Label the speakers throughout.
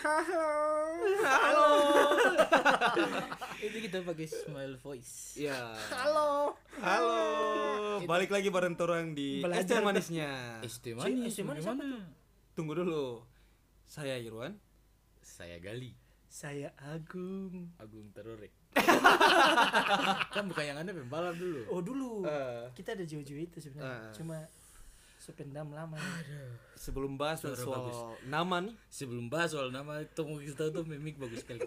Speaker 1: Halo.
Speaker 2: Halo.
Speaker 3: Itu kita pakai smile voice.
Speaker 2: Ya.
Speaker 1: Halo.
Speaker 2: Halo. Balik lagi bareng orang di Es Teh
Speaker 3: Belajar.
Speaker 2: Manisnya.
Speaker 1: SD
Speaker 3: Mana
Speaker 1: manis, SD manis apa?
Speaker 2: Tunggu dulu. Saya Irwan.
Speaker 1: Saya Gali,
Speaker 3: Saya Agung.
Speaker 1: Agung Terore. kan bukan yang anda pembalap dulu.
Speaker 3: Oh dulu
Speaker 2: Eh.
Speaker 3: kita ada jojo itu sebenarnya.
Speaker 2: Eh.
Speaker 3: Cuma sependam lama.
Speaker 2: Sebelum bahas
Speaker 1: Suara
Speaker 2: soal
Speaker 1: bagus.
Speaker 2: nama nih.
Speaker 1: Sebelum bahas soal nama temu kita tuh mimik bagus sekali.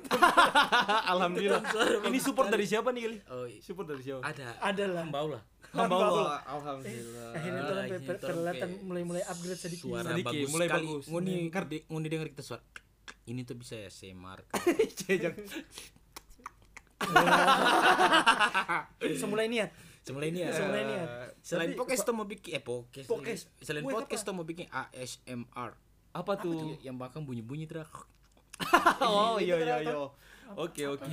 Speaker 2: Alhamdulillah.
Speaker 1: suara
Speaker 2: Ini
Speaker 1: bagus
Speaker 2: support
Speaker 1: sekali.
Speaker 2: dari siapa nih Gili?
Speaker 1: Oh,
Speaker 2: Support dari siapa?
Speaker 1: ada
Speaker 3: Adalah.
Speaker 1: Mbak Ula.
Speaker 2: Hamba
Speaker 3: Hamba
Speaker 2: Allah. Eh,
Speaker 3: Allah.
Speaker 2: Alhamdulillah.
Speaker 3: Akhirnya
Speaker 1: Ah,
Speaker 3: tuh sampai
Speaker 1: akhirnya
Speaker 3: per-
Speaker 1: tuh
Speaker 3: perlihatan
Speaker 1: sampai
Speaker 3: mulai-mulai upgrade sedikit.
Speaker 1: Suara
Speaker 2: Sedikit,
Speaker 1: bagus
Speaker 2: mulai
Speaker 1: sekali.
Speaker 2: bagus.
Speaker 1: Nguni kerdi, nguni denger kita suara. Ini tuh bisa ya semar.
Speaker 2: Jejak.
Speaker 3: Semula niat.
Speaker 1: Semula ini ya.
Speaker 3: Semula niat.
Speaker 1: Selain
Speaker 3: Tapi-
Speaker 1: podcast tuh mau bikin eh podcast.
Speaker 3: Podcast.
Speaker 1: Selain
Speaker 3: Weh,
Speaker 1: podcast
Speaker 3: apa?
Speaker 1: tuh mau bikin ASMR.
Speaker 2: Apa tuh?
Speaker 1: Tuh yang bakal bunyi-bunyi terus.
Speaker 2: Oh, iya iya iya. Oke oke.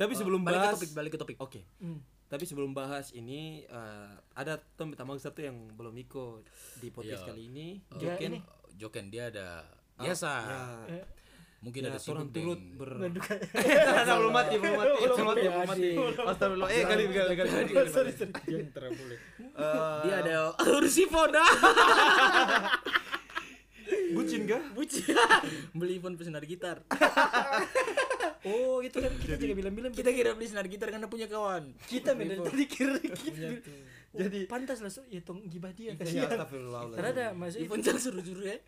Speaker 2: Tapi sebelum
Speaker 1: Oh, balik ke
Speaker 2: bahas
Speaker 1: topik, balik ke topik.
Speaker 2: Oke.
Speaker 3: Hmm.
Speaker 2: Tapi sebelum bahas ini eh, ada Tom Tamang satu yang belum ikut di
Speaker 1: Iya.
Speaker 2: podcast kali ini.
Speaker 3: Dia
Speaker 2: Joken.
Speaker 3: ini
Speaker 1: Joken dia ada biasa.
Speaker 2: Ya.
Speaker 3: eh,
Speaker 1: Mungkin
Speaker 2: Ya,
Speaker 1: ada
Speaker 2: turun
Speaker 1: sibuk
Speaker 2: turut
Speaker 1: dengan-
Speaker 2: ber
Speaker 3: menduga.
Speaker 2: Nah, belum mati, belum mati,
Speaker 3: Belum
Speaker 2: belum mati,
Speaker 3: mati.
Speaker 2: belum mati. Astagfirullah. Eh, kali kali kali. kali.
Speaker 3: Sorry, sorry.
Speaker 2: Eh,
Speaker 1: Dia ada Ursifoda.
Speaker 2: bucin kah?
Speaker 1: Bucin. Beli iPhone pesenar gitar.
Speaker 3: Oh itu kan kita juga bilang-bilang
Speaker 1: Kita kira beli senar gitar karena punya kawan.
Speaker 3: kita dari tadi kira gitu. Jadi
Speaker 2: Jadi-
Speaker 3: pantas lah so- ya tong gibah
Speaker 2: Ya,
Speaker 3: dia kasihan.
Speaker 2: astagfirullah.
Speaker 3: Karena ada maksudnya
Speaker 1: iPhone jangan suruh-suruh ya.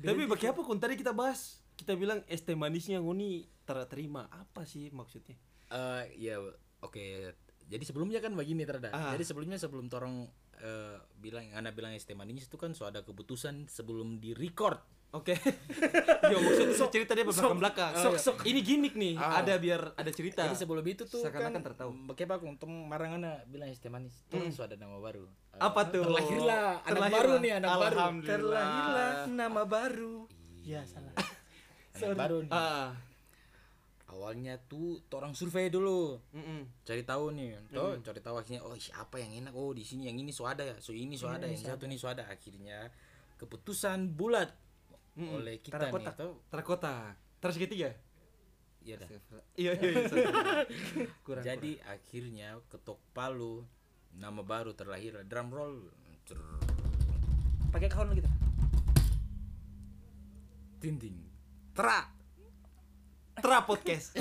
Speaker 2: Tapi bagi apa kun tadi kita bahas? Kita bilang es teh manisnya Nguni terterima. Apa sih maksudnya?
Speaker 1: Eh ya oke. Jadi sebelumnya kan begini terada.
Speaker 2: Ah.
Speaker 1: Jadi sebelumnya sebelum torong eh, bilang anak bilang ST manis itu kan so ada keputusan sebelum di record.
Speaker 2: Oke. Yo, maksudnya tuh cerita dia Oh, belakang-belakang.
Speaker 1: sok, sok.
Speaker 2: Ini gimmick nih,
Speaker 1: Ah.
Speaker 2: ada biar ada cerita.
Speaker 1: Jadi sebelum itu tuh
Speaker 2: Nah, Seakan-akan
Speaker 1: kan
Speaker 2: tertahu. Hmm.
Speaker 1: Bagaimana aku untung marangana bilang ST manis. Torong so ada nama baru. Eh,
Speaker 2: Apa tuh?
Speaker 1: Terlahirlah anak baru nih, anak baru.
Speaker 2: Alhamdulillah.
Speaker 3: terlahirlah nama baru. Ya salah.
Speaker 1: anak baru nih.
Speaker 2: Ah.
Speaker 1: Awalnya tuh torang survei dulu.
Speaker 2: Mm-mm.
Speaker 1: cari tahu nih toh
Speaker 2: Hmm.
Speaker 1: cari tahu akhirnya oh siapa yang enak oh di sini yang ini so ada ya so ini so
Speaker 2: Iya,
Speaker 1: ada yang satu ini so ada akhirnya keputusan bulat
Speaker 2: Hmm,
Speaker 1: oleh kita
Speaker 3: Tarik
Speaker 1: nih
Speaker 3: kotak.
Speaker 1: toh
Speaker 2: Terkotak. Terus ketiga?
Speaker 1: ya dah
Speaker 2: Iya, iya, iya. sorry. Kurang.
Speaker 1: jadi akhirnya ketok palu nama baru terlahir drum roll Cer-
Speaker 3: Pakai kawan kita.
Speaker 1: ting ting tra
Speaker 2: Tra podcast.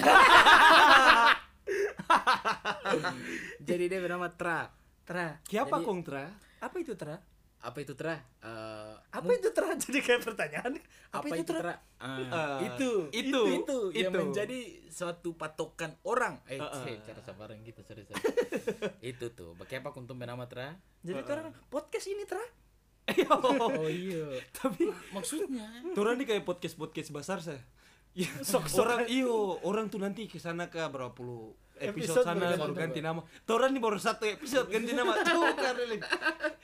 Speaker 1: jadi dia bernama tra
Speaker 3: Tra.
Speaker 2: Siapa
Speaker 1: Jadi-
Speaker 2: kung Tra?
Speaker 3: Apa itu tra?
Speaker 1: apa itu tra Eh,
Speaker 3: Apa itu tra? Jadi kayak pertanyaan. Apa, itu tra?
Speaker 1: Ah,
Speaker 2: Eh,
Speaker 1: itu,
Speaker 2: itu,
Speaker 1: itu, yang
Speaker 2: itu.
Speaker 1: menjadi suatu patokan orang. Eh,
Speaker 2: Ah, ah.
Speaker 1: cek, cara sabaran kita, sorry, sorry. itu tuh, bagaimana kuntum bernama Tra?
Speaker 3: Jadi itu orang podcast ini tra?
Speaker 1: Oh iya.
Speaker 2: Tapi
Speaker 1: Maksudnya?
Speaker 2: Turun nih kayak podcast podcast besar saya. Ya, orang iyo orang tuh nanti ke sana ke berapa puluh episode,
Speaker 3: Episode
Speaker 2: sana
Speaker 3: berganti
Speaker 2: baru ganti nama. Turun nih baru satu episode ganti nama. Tuh, karelin.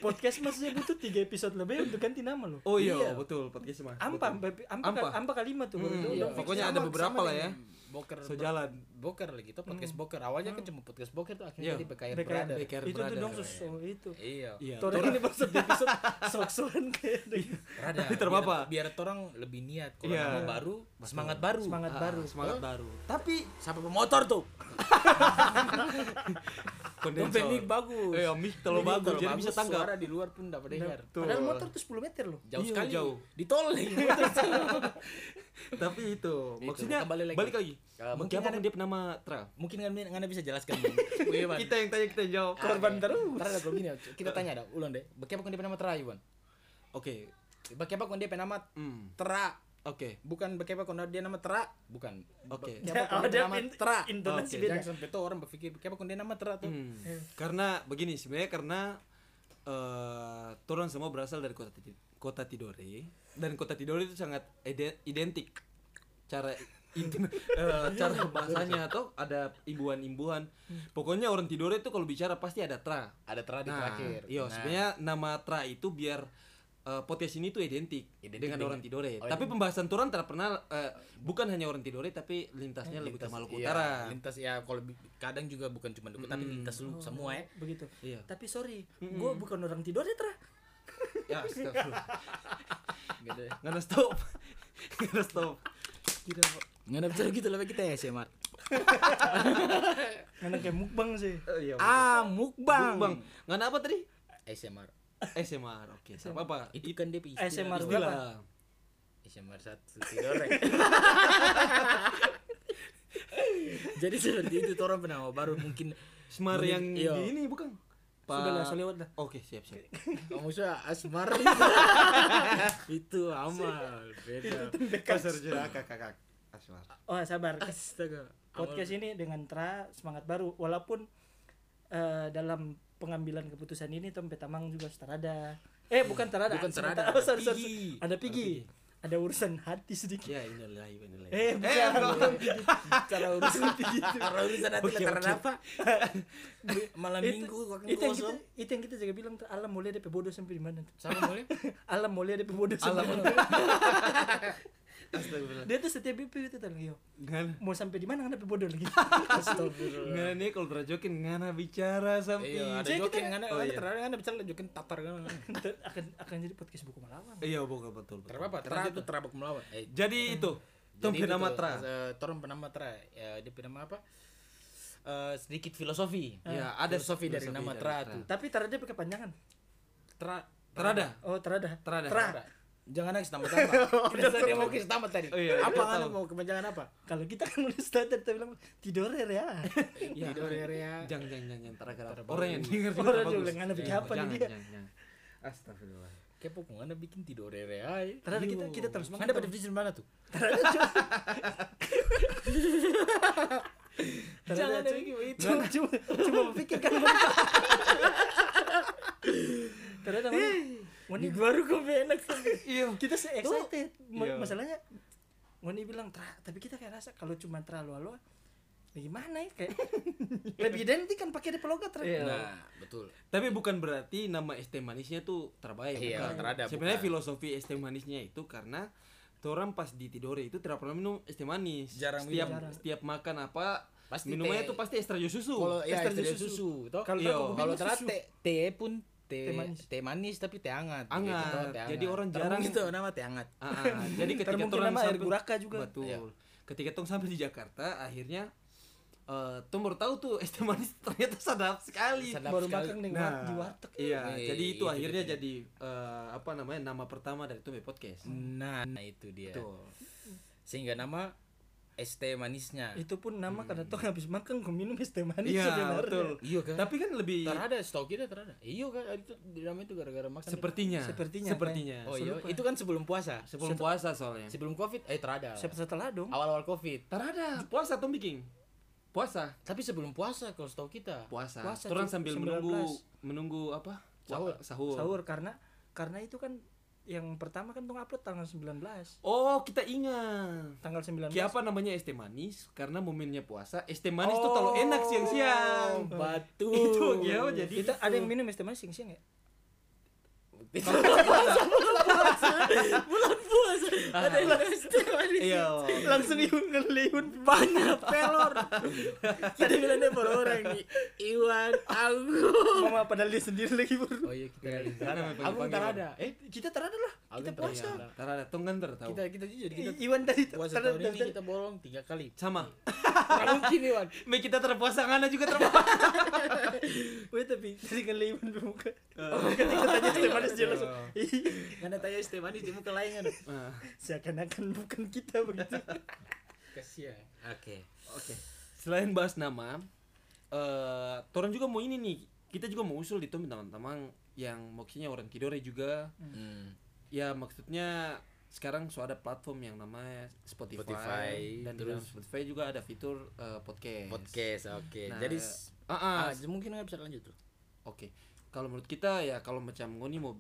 Speaker 3: Podcast maksudnya butuh tiga episode lebih untuk ganti nama loh.
Speaker 2: Oh
Speaker 1: Iya.
Speaker 2: iya, betul podcast mah.
Speaker 3: Ampa,
Speaker 2: Betul.
Speaker 3: ampa, ampa,
Speaker 2: Ampa.
Speaker 3: ampa kalimat tuh. baru
Speaker 2: Hmm,
Speaker 3: tuh.
Speaker 2: iya.
Speaker 3: Udah fix
Speaker 2: Pokoknya
Speaker 3: nama
Speaker 2: ada beberapa
Speaker 3: sama
Speaker 2: lah ya.
Speaker 3: dengan
Speaker 1: Boker
Speaker 2: So jalan.
Speaker 1: Boker lagi tuh podcast boker. Awalnya kan cuma podcast boker tuh akhirnya
Speaker 2: Hmm. Iya.
Speaker 1: jadi BKR
Speaker 3: BKR.
Speaker 1: Brother.
Speaker 2: BKR.
Speaker 3: Itu tuh
Speaker 2: Brother.
Speaker 3: dong sus. Oh, itu.
Speaker 1: Iya.
Speaker 2: Iya.
Speaker 3: Tuh
Speaker 2: Tora-
Speaker 3: ini maksud di episode sok-sokan kayak gitu.
Speaker 1: Rada,
Speaker 2: Tapi terpapa.
Speaker 1: Biar, biar orang lebih niat kalau
Speaker 2: Iya.
Speaker 1: nama baru, semangat baru.
Speaker 3: Semangat
Speaker 2: Ah,
Speaker 3: baru.
Speaker 2: semangat baru. Tapi
Speaker 1: Siapa pemotor tuh?
Speaker 2: kondensor.
Speaker 1: Dompet mic bagus.
Speaker 2: Eh, mic terlalu
Speaker 1: Mic
Speaker 2: bagus, jadi bisa tanggap.
Speaker 1: Suara di luar pun dapat dengar.
Speaker 2: Tuh.
Speaker 3: Padahal motor tuh 10 meter loh.
Speaker 1: Jauh
Speaker 2: Iya,
Speaker 1: sekali.
Speaker 2: jauh. Iya.
Speaker 1: Di tol
Speaker 2: Tapi itu maksudnya
Speaker 1: kembali
Speaker 2: balik
Speaker 1: lagi. Eh,
Speaker 2: lagi.
Speaker 1: mungkin
Speaker 2: mungkin apa
Speaker 1: ada-
Speaker 2: dia nama Tra?
Speaker 1: Mungkin kan Ngana bisa jelaskan. Bang. Wih, Wan.
Speaker 2: Kita yang tanya kita yang jawab.
Speaker 1: Ah.
Speaker 3: korban terus.
Speaker 1: Ntar ada gini, kita tanya dah, ulang deh. Bagaimana kau dia penama Tra, Iwan?
Speaker 2: Oke.
Speaker 1: Bagaimana kau dia penama
Speaker 2: Hmm.
Speaker 1: Tra?
Speaker 2: Oke.
Speaker 1: Bukan bagaimana kau dia nama Tra? Bukan.
Speaker 2: Oke.
Speaker 1: Siapa
Speaker 3: Ya,
Speaker 1: kau
Speaker 3: ada
Speaker 1: dia nama
Speaker 3: in-
Speaker 1: Tra?
Speaker 3: intonasi
Speaker 2: Oke,
Speaker 3: beda.
Speaker 1: Jangan sampai tuh orang berpikir bagaimana kau dia nama Tra tuh.
Speaker 2: Hmm.
Speaker 3: Iya.
Speaker 2: Karena begini sebenarnya karena eh turun semua berasal dari kota Tid- kota Tidore dan kota Tidore itu sangat ide- identik cara intim eh, cara bahasanya atau ada imbuhan-imbuhan. Pokoknya orang Tidore itu kalau bicara pasti ada tra.
Speaker 1: Ada Tra di
Speaker 2: Nah,
Speaker 1: terakhir.
Speaker 2: Iya,
Speaker 1: Nah,
Speaker 2: sebenarnya nama tra itu biar eh, podcast ini tuh identik,
Speaker 1: Identik
Speaker 2: dengan
Speaker 1: dengan-
Speaker 2: orang Tidore.
Speaker 1: Oh,
Speaker 2: tapi pembahasan Turan tidak pernah eh, bukan hanya orang Tidore tapi lintasnya lebih ke
Speaker 1: lintas-
Speaker 2: Maluku
Speaker 1: iya,
Speaker 2: Utara.
Speaker 1: Lintas ya kalau bi- kadang juga bukan cuma dulu tapi lintas lu semua ya.
Speaker 3: Begitu.
Speaker 2: Iya.
Speaker 3: Tapi sorry, gue bukan orang tidur deh, Tra.
Speaker 2: Ya, astagfirullah.
Speaker 1: Beda.
Speaker 2: Nggak ada stop. Nggak ada stop. Tidak.
Speaker 1: nggak ada bicara gitu lah kita ya SMA
Speaker 3: Karena kayak mukbang sih.
Speaker 2: Eh, iya.
Speaker 1: ah mukbang
Speaker 2: Bang, nggak ada apa tadi?
Speaker 1: SMR
Speaker 2: SMR. Oke, sama apa?
Speaker 1: itu kan dia istilah-
Speaker 3: SMR
Speaker 1: istilah.
Speaker 3: berapa?
Speaker 2: Istilah.
Speaker 1: SMR satu tidorek jadi seperti itu orang penama baru mungkin
Speaker 2: Smar
Speaker 1: Mungkin- iya.
Speaker 2: yang di ini bukan? Pak-
Speaker 3: Sudah lah, sudah lewat lah.
Speaker 2: Oke, siap siap.
Speaker 1: kamu sudah Oh, asmar itu amal beda
Speaker 2: Pasar jeraka kakak. Asmar.
Speaker 3: Oh sabar.
Speaker 2: Ah,
Speaker 1: astaga
Speaker 3: Podcast ini dengan Tra semangat baru. Walaupun eh, dalam pengambilan keputusan ini Tom Petamang juga terada. Eh bukan terada.
Speaker 1: Bukan
Speaker 3: sebentar.
Speaker 1: terada,
Speaker 3: Oh, sorry,
Speaker 1: ada
Speaker 3: sorry.
Speaker 1: pigi.
Speaker 3: Ada pigi. Ada urusan hati sedikit.
Speaker 2: Ya, inilah inilah.
Speaker 3: Eh bukan.
Speaker 1: cara urusan cara urusan nanti
Speaker 2: Oke,
Speaker 1: karena
Speaker 2: oke.
Speaker 1: apa malam
Speaker 3: Itu-
Speaker 1: minggu waktu
Speaker 3: itu, yang kita,
Speaker 1: kosong
Speaker 3: itu yang kita juga bilang Tra, alam mulia ada bodoh sampai di mana tuh?
Speaker 1: sama boleh
Speaker 3: alam mulia ada bodoh sampai
Speaker 2: Alam.
Speaker 3: di mana?
Speaker 2: Astagfirullah.
Speaker 3: dia tuh setiap BP itu tadi yo
Speaker 2: Ngana.
Speaker 3: mau sampai di mana kan ada bodoh lagi
Speaker 1: astagfirullah
Speaker 2: Ngana nih kalau berajokin ngana bicara sampai.
Speaker 1: Iya, ada
Speaker 2: Jadi
Speaker 1: jokin
Speaker 2: kita-
Speaker 1: kan ada
Speaker 2: Oh, iya.
Speaker 1: terang ada bicara jokin tatar kan.
Speaker 3: Ntar akan akan jadi podcast buku melawan
Speaker 2: Iya, bukan betul. betul.
Speaker 1: Terapa? Terang itu terabak melawan. Eh,
Speaker 2: Jadi itu Tom
Speaker 1: Jadi itu
Speaker 2: Kenama
Speaker 1: tuh,
Speaker 2: Tra.
Speaker 1: eh, Torun penama Tra. Ya, dia penama apa? Eh, sedikit filosofi. Eh,
Speaker 2: Ya, ada
Speaker 1: filosofi dari nama Tra tuh.
Speaker 3: tapi terada pakai panjangan
Speaker 1: Tra
Speaker 2: Terada.
Speaker 3: oh terada
Speaker 2: Terada.
Speaker 3: Tra.
Speaker 1: Tra. Jangan nangis tambah-tambah. Kita dia mau kisah tambah tadi.
Speaker 2: Oh, iya,
Speaker 1: apa
Speaker 2: kita
Speaker 1: kan
Speaker 2: tahu.
Speaker 1: mau kepanjangan apa?
Speaker 3: kalau kita kan udah standar kita bilang tidur ya
Speaker 2: Ya.
Speaker 1: Tidur area.
Speaker 2: Jangan jangan jangan Terada.
Speaker 1: Terbagus.
Speaker 2: Orang yang denger kita
Speaker 3: Orang
Speaker 2: bagus.
Speaker 3: juga bilang, "Ngana bikin
Speaker 2: Jangan,
Speaker 3: apa nih
Speaker 2: jangan,
Speaker 3: dia?"
Speaker 2: jangan, jangan. Astagfirullah.
Speaker 1: Kepo kok nggak ada bikin tidur area.
Speaker 3: terada kita kita terus
Speaker 1: Ada pada definisi mana tuh?
Speaker 3: terada
Speaker 1: Jangan ada
Speaker 3: cuy.
Speaker 1: yang gitu.
Speaker 3: cuma cuma cuma memikirkan terada mana Wani baru kok enak kan?
Speaker 2: Iya.
Speaker 3: kita se excited Ma-
Speaker 2: Iya.
Speaker 3: masalahnya Wani bilang tra tapi kita kayak rasa kalau cuma tra lo lo gimana ya kayak lebih identik kan pakai ada pelogat tra
Speaker 2: Iya.
Speaker 1: Nah, betul.
Speaker 2: Tapi bukan berarti nama es teh manisnya tuh terbaik.
Speaker 1: Iya,
Speaker 2: bukan.
Speaker 1: terada,
Speaker 2: Sebenarnya
Speaker 1: bukan.
Speaker 2: filosofi es teh manisnya itu karena orang pas di tidore itu tidak pernah minum es teh manis.
Speaker 1: Jarang
Speaker 2: setiap
Speaker 3: minum. Jarang.
Speaker 2: setiap makan apa
Speaker 1: Pasti
Speaker 2: minumnya
Speaker 1: teh.
Speaker 2: itu pasti extra jus susu.
Speaker 1: Kalau ya
Speaker 2: Extra jus
Speaker 1: teh susu, toh.
Speaker 3: Kalau
Speaker 2: Iya.
Speaker 3: aku
Speaker 1: Kalau
Speaker 3: bilang
Speaker 1: ternyata
Speaker 3: susu.
Speaker 1: teh, teh pun teh,
Speaker 3: Teh
Speaker 1: teh
Speaker 3: manis.
Speaker 1: manis. tapi teh hangat. Gitu,
Speaker 2: Hangat.
Speaker 1: toh,
Speaker 2: Jadi orang
Speaker 1: Termung
Speaker 2: jarang-
Speaker 1: itu nama teh hangat.
Speaker 2: Ah, ah. jadi
Speaker 3: Ntar
Speaker 2: ketika
Speaker 3: mungkin
Speaker 2: orang
Speaker 3: nama air
Speaker 2: sampai-
Speaker 3: guraka juga.
Speaker 2: Betul.
Speaker 1: Iya.
Speaker 2: Ketika tong sampai di Jakarta akhirnya eh tong baru tahu tuh es teh manis ternyata sadap sekali.
Speaker 1: Sadap
Speaker 3: baru
Speaker 1: sekali.
Speaker 3: makan nih di warteg
Speaker 2: Iya,
Speaker 1: Eh,
Speaker 2: jadi itu
Speaker 1: itu
Speaker 2: akhirnya
Speaker 1: dia.
Speaker 2: jadi eh, apa namanya nama pertama dari Tumbe
Speaker 3: Hmm.
Speaker 2: Podcast.
Speaker 1: Nah, nah itu dia.
Speaker 2: Betul.
Speaker 1: Sehingga nama es teh manisnya.
Speaker 3: itu pun nama karena tuh habis makan gue minum es teh manis
Speaker 2: Hmm. Iya,
Speaker 3: sebenarnya.
Speaker 2: betul.
Speaker 1: Iya kan?
Speaker 2: Tapi kan lebih
Speaker 1: terada stok kita terada. Iya kan itu namanya itu gara-gara makan.
Speaker 2: sepertinya
Speaker 3: Sepertinya,
Speaker 2: sepertinya
Speaker 1: Oh iya,
Speaker 3: Selupa.
Speaker 1: itu kan sebelum puasa.
Speaker 2: sebelum puasa soalnya
Speaker 1: Sebelum Covid eh terada.
Speaker 3: Siapa setelah dong
Speaker 1: Awal-awal Covid.
Speaker 2: terada puasa tuh bikin puasa
Speaker 1: Tapi sebelum puasa kalau stok kita.
Speaker 2: puasa,
Speaker 3: Puasa,
Speaker 2: Terus
Speaker 3: cuy.
Speaker 2: sambil
Speaker 3: 19.
Speaker 2: menunggu menunggu apa
Speaker 1: Sahur.
Speaker 2: Wa- sahur
Speaker 3: sahur karena karena itu kan yang pertama kan tuh upload tanggal 19
Speaker 2: oh kita ingat
Speaker 3: tanggal 19
Speaker 2: Kenapa namanya es teh manis? Karena momennya puasa, es teh manis tuh terlalu enak
Speaker 1: Oh,
Speaker 2: siang-siang.
Speaker 1: Batu.
Speaker 2: Itu ya jadi
Speaker 3: kita ada yang minum es teh manis siang-siang ya
Speaker 1: bulan puasa ada yang
Speaker 2: Iya.
Speaker 3: Ah. langsung Iwan ngeliun
Speaker 1: banyak pelor kita bilang dia pelor orang nih Iwan aku
Speaker 3: mama padahal dia sendiri lagi buru
Speaker 1: oh iya kita
Speaker 2: Terada memang
Speaker 1: aku
Speaker 2: panggil.
Speaker 1: ntar ada eh
Speaker 3: Nah, kita terada lah kita
Speaker 1: Alvin
Speaker 3: puasa
Speaker 1: terada.
Speaker 2: Terada tuh kan tertahu.
Speaker 1: kita kita jujur kita
Speaker 3: I- Iwan tadi
Speaker 1: puasa
Speaker 3: terada-
Speaker 1: tahun ini
Speaker 3: terada-
Speaker 1: kita bolong tiga kali
Speaker 2: Sama.
Speaker 1: Nggak mungkin Iwan
Speaker 2: Me kita terpuasa ngana juga terpuasa.
Speaker 3: Weh tapi tadi kan Iwan bermuka ketika tanya es teh manis dia langsung Iya. "Ih,
Speaker 1: karena tanya es teh manis di muka lain kan
Speaker 2: Ah,
Speaker 3: seakan-akan bukan kita begitu
Speaker 1: kasian oke
Speaker 2: Oke. Selain bahas nama, eh Toran juga mau ini nih. Kita juga mau usul di Tom teman-teman yang maksudnya orang Kidore juga.
Speaker 1: Hmm.
Speaker 2: Ya maksudnya sekarang so ada platform yang namanya Spotify,
Speaker 1: Spotify,
Speaker 2: dan di dalam
Speaker 1: terus-
Speaker 2: Spotify juga ada fitur eh, podcast.
Speaker 1: podcast oke
Speaker 2: Nah,
Speaker 1: jadi
Speaker 2: ah, ah,
Speaker 1: ah, mungkin nggak bisa lanjut tuh
Speaker 2: Oke. Kalau menurut kita ya kalau macam Ngoni mau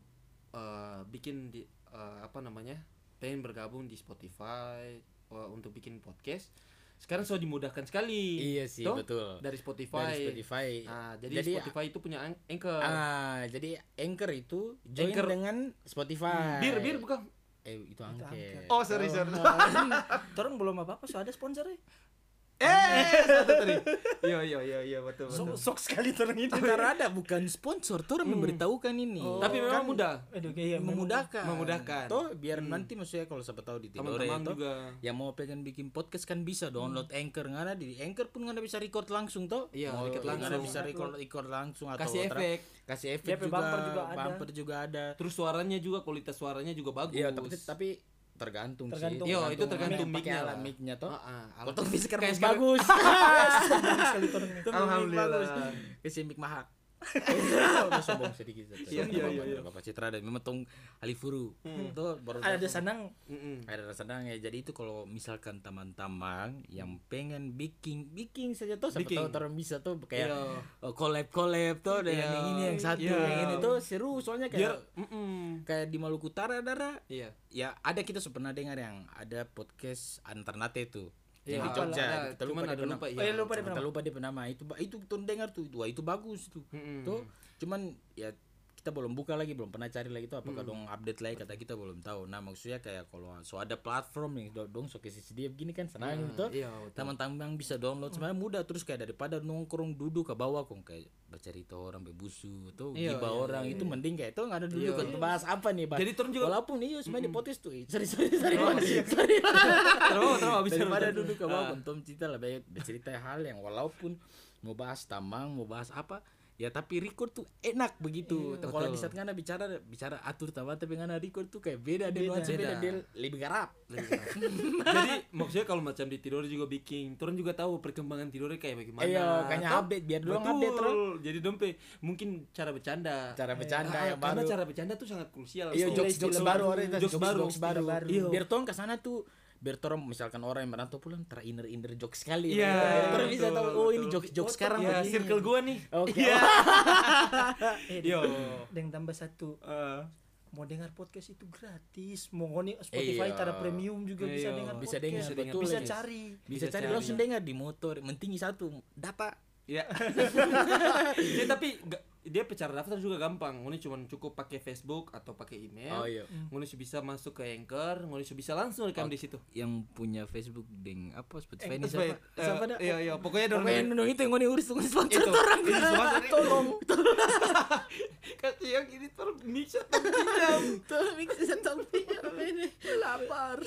Speaker 2: eh, bikin di eh, apa namanya? pengen bergabung di Spotify eh, untuk bikin podcast. Sekarang so dimudahkan sekali.
Speaker 1: Iya sih,
Speaker 2: Toh,
Speaker 1: betul.
Speaker 2: Dari Spotify.
Speaker 1: dari Spotify
Speaker 2: Ah, jadi,
Speaker 1: Iya. Jadi, ya
Speaker 2: Spotify itu punya an- anchor.
Speaker 1: ah jadi anchor itu join
Speaker 2: Anchor.
Speaker 1: dengan Spotify
Speaker 2: bir bir bukan.
Speaker 1: eh itu angker
Speaker 3: Angker.
Speaker 2: Oh, sorry sorry.
Speaker 3: Torong belum apa-apa so ada sponsornya
Speaker 2: Eh, satu tadi. Iya, iya, iya, iya, betul,
Speaker 3: So-
Speaker 2: betul.
Speaker 3: sok sekali turun ini
Speaker 1: Terada bukan sponsor, Tor memberitahukan ini. ya,
Speaker 2: Tapi
Speaker 1: kan
Speaker 2: memang mudah.
Speaker 3: Aduh, iya, memang-
Speaker 1: memudahkan.
Speaker 2: Memudahkan.
Speaker 1: Toh biar nanti maksudnya kalau siapa tahu di Tidore
Speaker 2: Teman-teman
Speaker 1: toh,
Speaker 2: juga.
Speaker 1: yang Ya, mau pengen bikin podcast kan bisa download Anchor nggak ada di Anchor pun nggak ada bisa record langsung toh.
Speaker 2: Hmm. Iya,
Speaker 1: mau
Speaker 2: record
Speaker 1: nggak ada
Speaker 2: langsung.
Speaker 1: bisa record record langsung atau
Speaker 2: Kasih Iya,
Speaker 1: tra-
Speaker 2: efek.
Speaker 1: Kasih efek
Speaker 3: DP
Speaker 1: juga,
Speaker 3: bumper juga ada.
Speaker 1: bumper juga ada.
Speaker 2: Terus suaranya juga kualitas suaranya juga bagus.
Speaker 1: Iya, tapi tapi tergantung, sih.
Speaker 3: Tergantung.
Speaker 2: Iya, itu tergantung
Speaker 1: mic
Speaker 2: mic-nya
Speaker 1: alat
Speaker 2: lah.
Speaker 1: mic-nya toh.
Speaker 2: Ah, ah,
Speaker 1: Potong bisa kan
Speaker 2: Kayak sekarang-
Speaker 1: bagus.
Speaker 3: sekali turun ini.
Speaker 2: Alhamdulillah.
Speaker 1: Kasih mic mahak. Udah sombong sedikit. Zat.
Speaker 2: Iya, iya, iya, Hmm. iya.
Speaker 1: Bapak Citra dan memetung Alifuru. Tuh baru
Speaker 3: ada sanang
Speaker 2: Mm-mm.
Speaker 1: ada rasa senang ya jadi itu kalau misalkan taman-taman yang pengen bikin bikin saja tuh siapa
Speaker 2: Biking.
Speaker 1: tahu orang bisa tuh kayak oh,
Speaker 2: Iya.
Speaker 1: collab collab tuh dengan
Speaker 2: Iya.
Speaker 1: yang ini yang satu
Speaker 2: Iya.
Speaker 1: yang ini tuh seru soalnya
Speaker 2: Biar
Speaker 1: kayak
Speaker 2: mm-mm.
Speaker 1: kayak di Maluku Utara Dara
Speaker 2: Iya.
Speaker 1: ya ada kita sudah pernah dengar yang ada podcast Anternate itu
Speaker 2: Iya,
Speaker 1: yang di
Speaker 2: ada,
Speaker 1: Jogja
Speaker 2: ada.
Speaker 1: kita
Speaker 2: Cuman
Speaker 1: lupa
Speaker 2: ada
Speaker 1: dia
Speaker 2: lupa,
Speaker 1: lupa,
Speaker 2: iya. Oh, iya,
Speaker 3: lupa dia
Speaker 1: kita lupa dia bernama itu ba- itu tuh dengar tuh wah itu bagus tuh
Speaker 2: Mm-mm.
Speaker 1: tuh cuman ya kita belum buka lagi belum pernah cari lagi tuh
Speaker 2: Hmm.
Speaker 1: apakah dong update lagi kata kita belum tahu nah maksudnya kayak kalau so ada platform yang do- dong so kasih dia begini kan senang gitu
Speaker 2: iya, Hmm. betul.
Speaker 1: teman-teman bisa download sebenarnya mudah terus kayak daripada nongkrong duduk ke bawah kong kayak bercerita orang bebusu tuh
Speaker 2: Iya,
Speaker 1: gibah
Speaker 2: iya,
Speaker 1: orang itu mending kayak itu nggak ada duduk kan bahas apa nih bahas
Speaker 2: Jadi turun juga- Hmm. Oh, iya.
Speaker 1: walaupun iya sebenarnya di podcast tuh eh, sorry sorry sorry sorry
Speaker 2: Terus terus habis
Speaker 1: daripada
Speaker 2: dulu.
Speaker 1: duduk ke bawah tom cerita lah baik bercerita hal yang walaupun mau bahas tamang mau bahas apa ya tapi record tuh enak begitu Tuh, kalau di saat ngana bicara bicara atur tawa tapi ngana record tuh kayak beda dia nuansa beda
Speaker 2: Beda.
Speaker 1: dia lebih garap
Speaker 2: Iya. Jadi maksudnya kalau macam di tidur juga bikin, turun juga tahu perkembangan tidurnya kayak bagaimana.
Speaker 1: Iya, kayaknya
Speaker 2: Toh,
Speaker 1: update, biar dorang
Speaker 2: betul.
Speaker 1: update, Rol.
Speaker 2: Jadi dompe mungkin cara bercanda.
Speaker 1: cara bercanda
Speaker 2: Ah,
Speaker 1: yang
Speaker 2: karena
Speaker 1: baru
Speaker 2: cara bercanda tuh sangat krusial.
Speaker 1: iya
Speaker 2: Istilah-
Speaker 1: jokes jokes
Speaker 2: istilah
Speaker 1: baru orang itu,
Speaker 2: jokes baru,
Speaker 1: jokes baru
Speaker 3: baru.
Speaker 1: Iya. biar tong kesana tuh biar tolong misalkan orang yang merantau pulang ter inner inner jokes sekali
Speaker 2: Iya.
Speaker 1: Biar tolong bisa
Speaker 2: betul,
Speaker 1: tahu oh ini
Speaker 2: betul.
Speaker 1: jokes jokes
Speaker 2: Oh,
Speaker 1: sekarang
Speaker 2: iya,
Speaker 1: begini.
Speaker 2: circle gua nih.
Speaker 1: Oke.
Speaker 2: Iya.
Speaker 3: eh
Speaker 2: Yo.
Speaker 3: dan tambah satu
Speaker 2: Eh,
Speaker 3: mau dengar podcast itu gratis mau ngoni Spotify
Speaker 1: Iya.
Speaker 3: cara premium juga
Speaker 2: Iya.
Speaker 3: bisa dengar
Speaker 1: Bisa dengar,
Speaker 3: podcast
Speaker 1: betul,
Speaker 3: bisa
Speaker 1: guys.
Speaker 3: cari
Speaker 1: bisa,
Speaker 2: Bisa
Speaker 1: cari
Speaker 2: cari.
Speaker 1: langsung dengar di motor mentingi satu data
Speaker 2: Iya. Jadi tapi ga- dia pecara daftar juga gampang. Ngoni cuma cukup pakai Facebook atau pakai email.
Speaker 1: Oh, iya.
Speaker 2: Ngoni su bisa masuk ke Anchor, ngoni su bisa langsung rekam di situ.
Speaker 1: yang punya Facebook deng apa Spotify ini
Speaker 2: Terus
Speaker 1: siapa?
Speaker 2: baik, eh, Iya, iya, pokoknya dorong
Speaker 1: Pokoknya nundung itu yang ngoni urus ngoni sponsor
Speaker 2: Itu.
Speaker 1: tuh orang.
Speaker 2: Itu semua tadi.
Speaker 1: Tolong.
Speaker 2: Kasih yang ini terus bisa terpinjam.
Speaker 1: Tolong season samping apa ini? Lapar.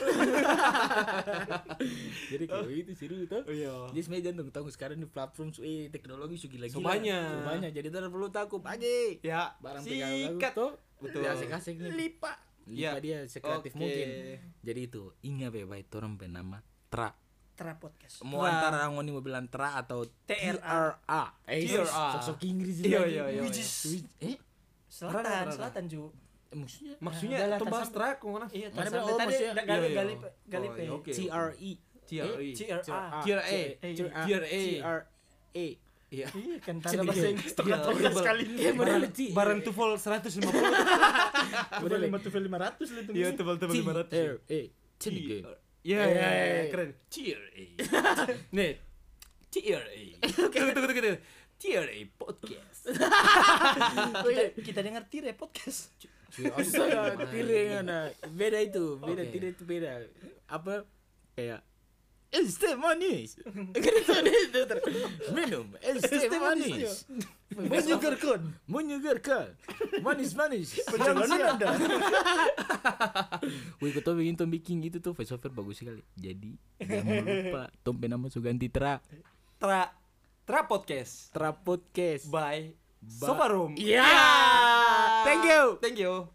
Speaker 1: Jadi gitu kalau itu seru tuh.
Speaker 2: Oh, iya.
Speaker 1: Jadi sebenarnya jangan tunggu tahu sekarang di platform su- eh, teknologi su gila gila.
Speaker 2: Su banyak.
Speaker 1: banyak. Jadi tidak perlu takut aja.
Speaker 2: Ya,
Speaker 1: Barang
Speaker 2: sikat.
Speaker 1: tuh.
Speaker 2: Betul.
Speaker 1: Ya asik-asik nih. Lipa. Lipa
Speaker 2: Ya.
Speaker 1: dia sekreatif
Speaker 2: Oke.
Speaker 1: mungkin. Jadi itu ingat ya baik orang bernama Tra.
Speaker 3: tra podcast
Speaker 1: mau antara ngoni mau bilang tra atau
Speaker 3: TRA.
Speaker 1: TRA. Eh,
Speaker 2: TRA.
Speaker 1: Sok-sok Inggris
Speaker 2: Iya,
Speaker 1: lagi.
Speaker 2: iya, iya,
Speaker 1: Which
Speaker 2: iya.
Speaker 1: is- which- eh,
Speaker 3: selatan selatan ju
Speaker 1: eh, maksudnya
Speaker 2: Maksudnya
Speaker 3: Udah lah,
Speaker 2: itu bahas
Speaker 3: tersambung.
Speaker 2: track ngona.
Speaker 3: iya
Speaker 1: Mana
Speaker 3: tadi
Speaker 1: bilang, oh,
Speaker 3: tadi
Speaker 1: maksudnya-
Speaker 3: da- gali
Speaker 2: Iya, iya.
Speaker 3: gali gali
Speaker 2: Oh,
Speaker 3: pe
Speaker 2: iya, oke.
Speaker 1: TRE.
Speaker 2: TRE.
Speaker 3: CRA
Speaker 2: TRA.
Speaker 1: TRA.
Speaker 2: TRA.
Speaker 1: TRA.
Speaker 2: Iya.
Speaker 3: iya kan
Speaker 1: Sini.
Speaker 3: tanda bahasa Inggris
Speaker 2: Iya,
Speaker 3: terkata
Speaker 2: iya, Bang.
Speaker 3: sekali
Speaker 1: Iya, model
Speaker 2: Barang,
Speaker 1: Ci.
Speaker 2: barang tufol 150.
Speaker 3: Tufel lima tufel lima ratus lah itu
Speaker 2: Iya, tebal-tebal 500.
Speaker 1: TRA. Sini, geng.
Speaker 2: Iya,
Speaker 1: Eh.
Speaker 2: iya, iya, keren. TRA. Nih. TRA. Tunggu, tunggu, tunggu. tunggu. TRA podcast.
Speaker 3: kita, kita dengar tire podcast
Speaker 1: Cuy, astaga, tire ngana. Beda itu, beda
Speaker 2: Oke.
Speaker 1: tire itu beda. Apa kayak Es teh manis. Gitu, gitu, ter- Minum es teh manis.
Speaker 3: menyegarkan
Speaker 1: menyegarkan manis-manis
Speaker 3: anda
Speaker 1: Wih, kau tahu bikin Tom bikin gitu tuh voiceover bagus sekali. Jadi jangan lupa Tom punya nama Suganti Tra
Speaker 2: Tra Tra podcast
Speaker 1: Tra Podcast.
Speaker 2: by
Speaker 1: Ba-
Speaker 2: Sofarum.
Speaker 1: Iya. Thank you.
Speaker 2: Thank you.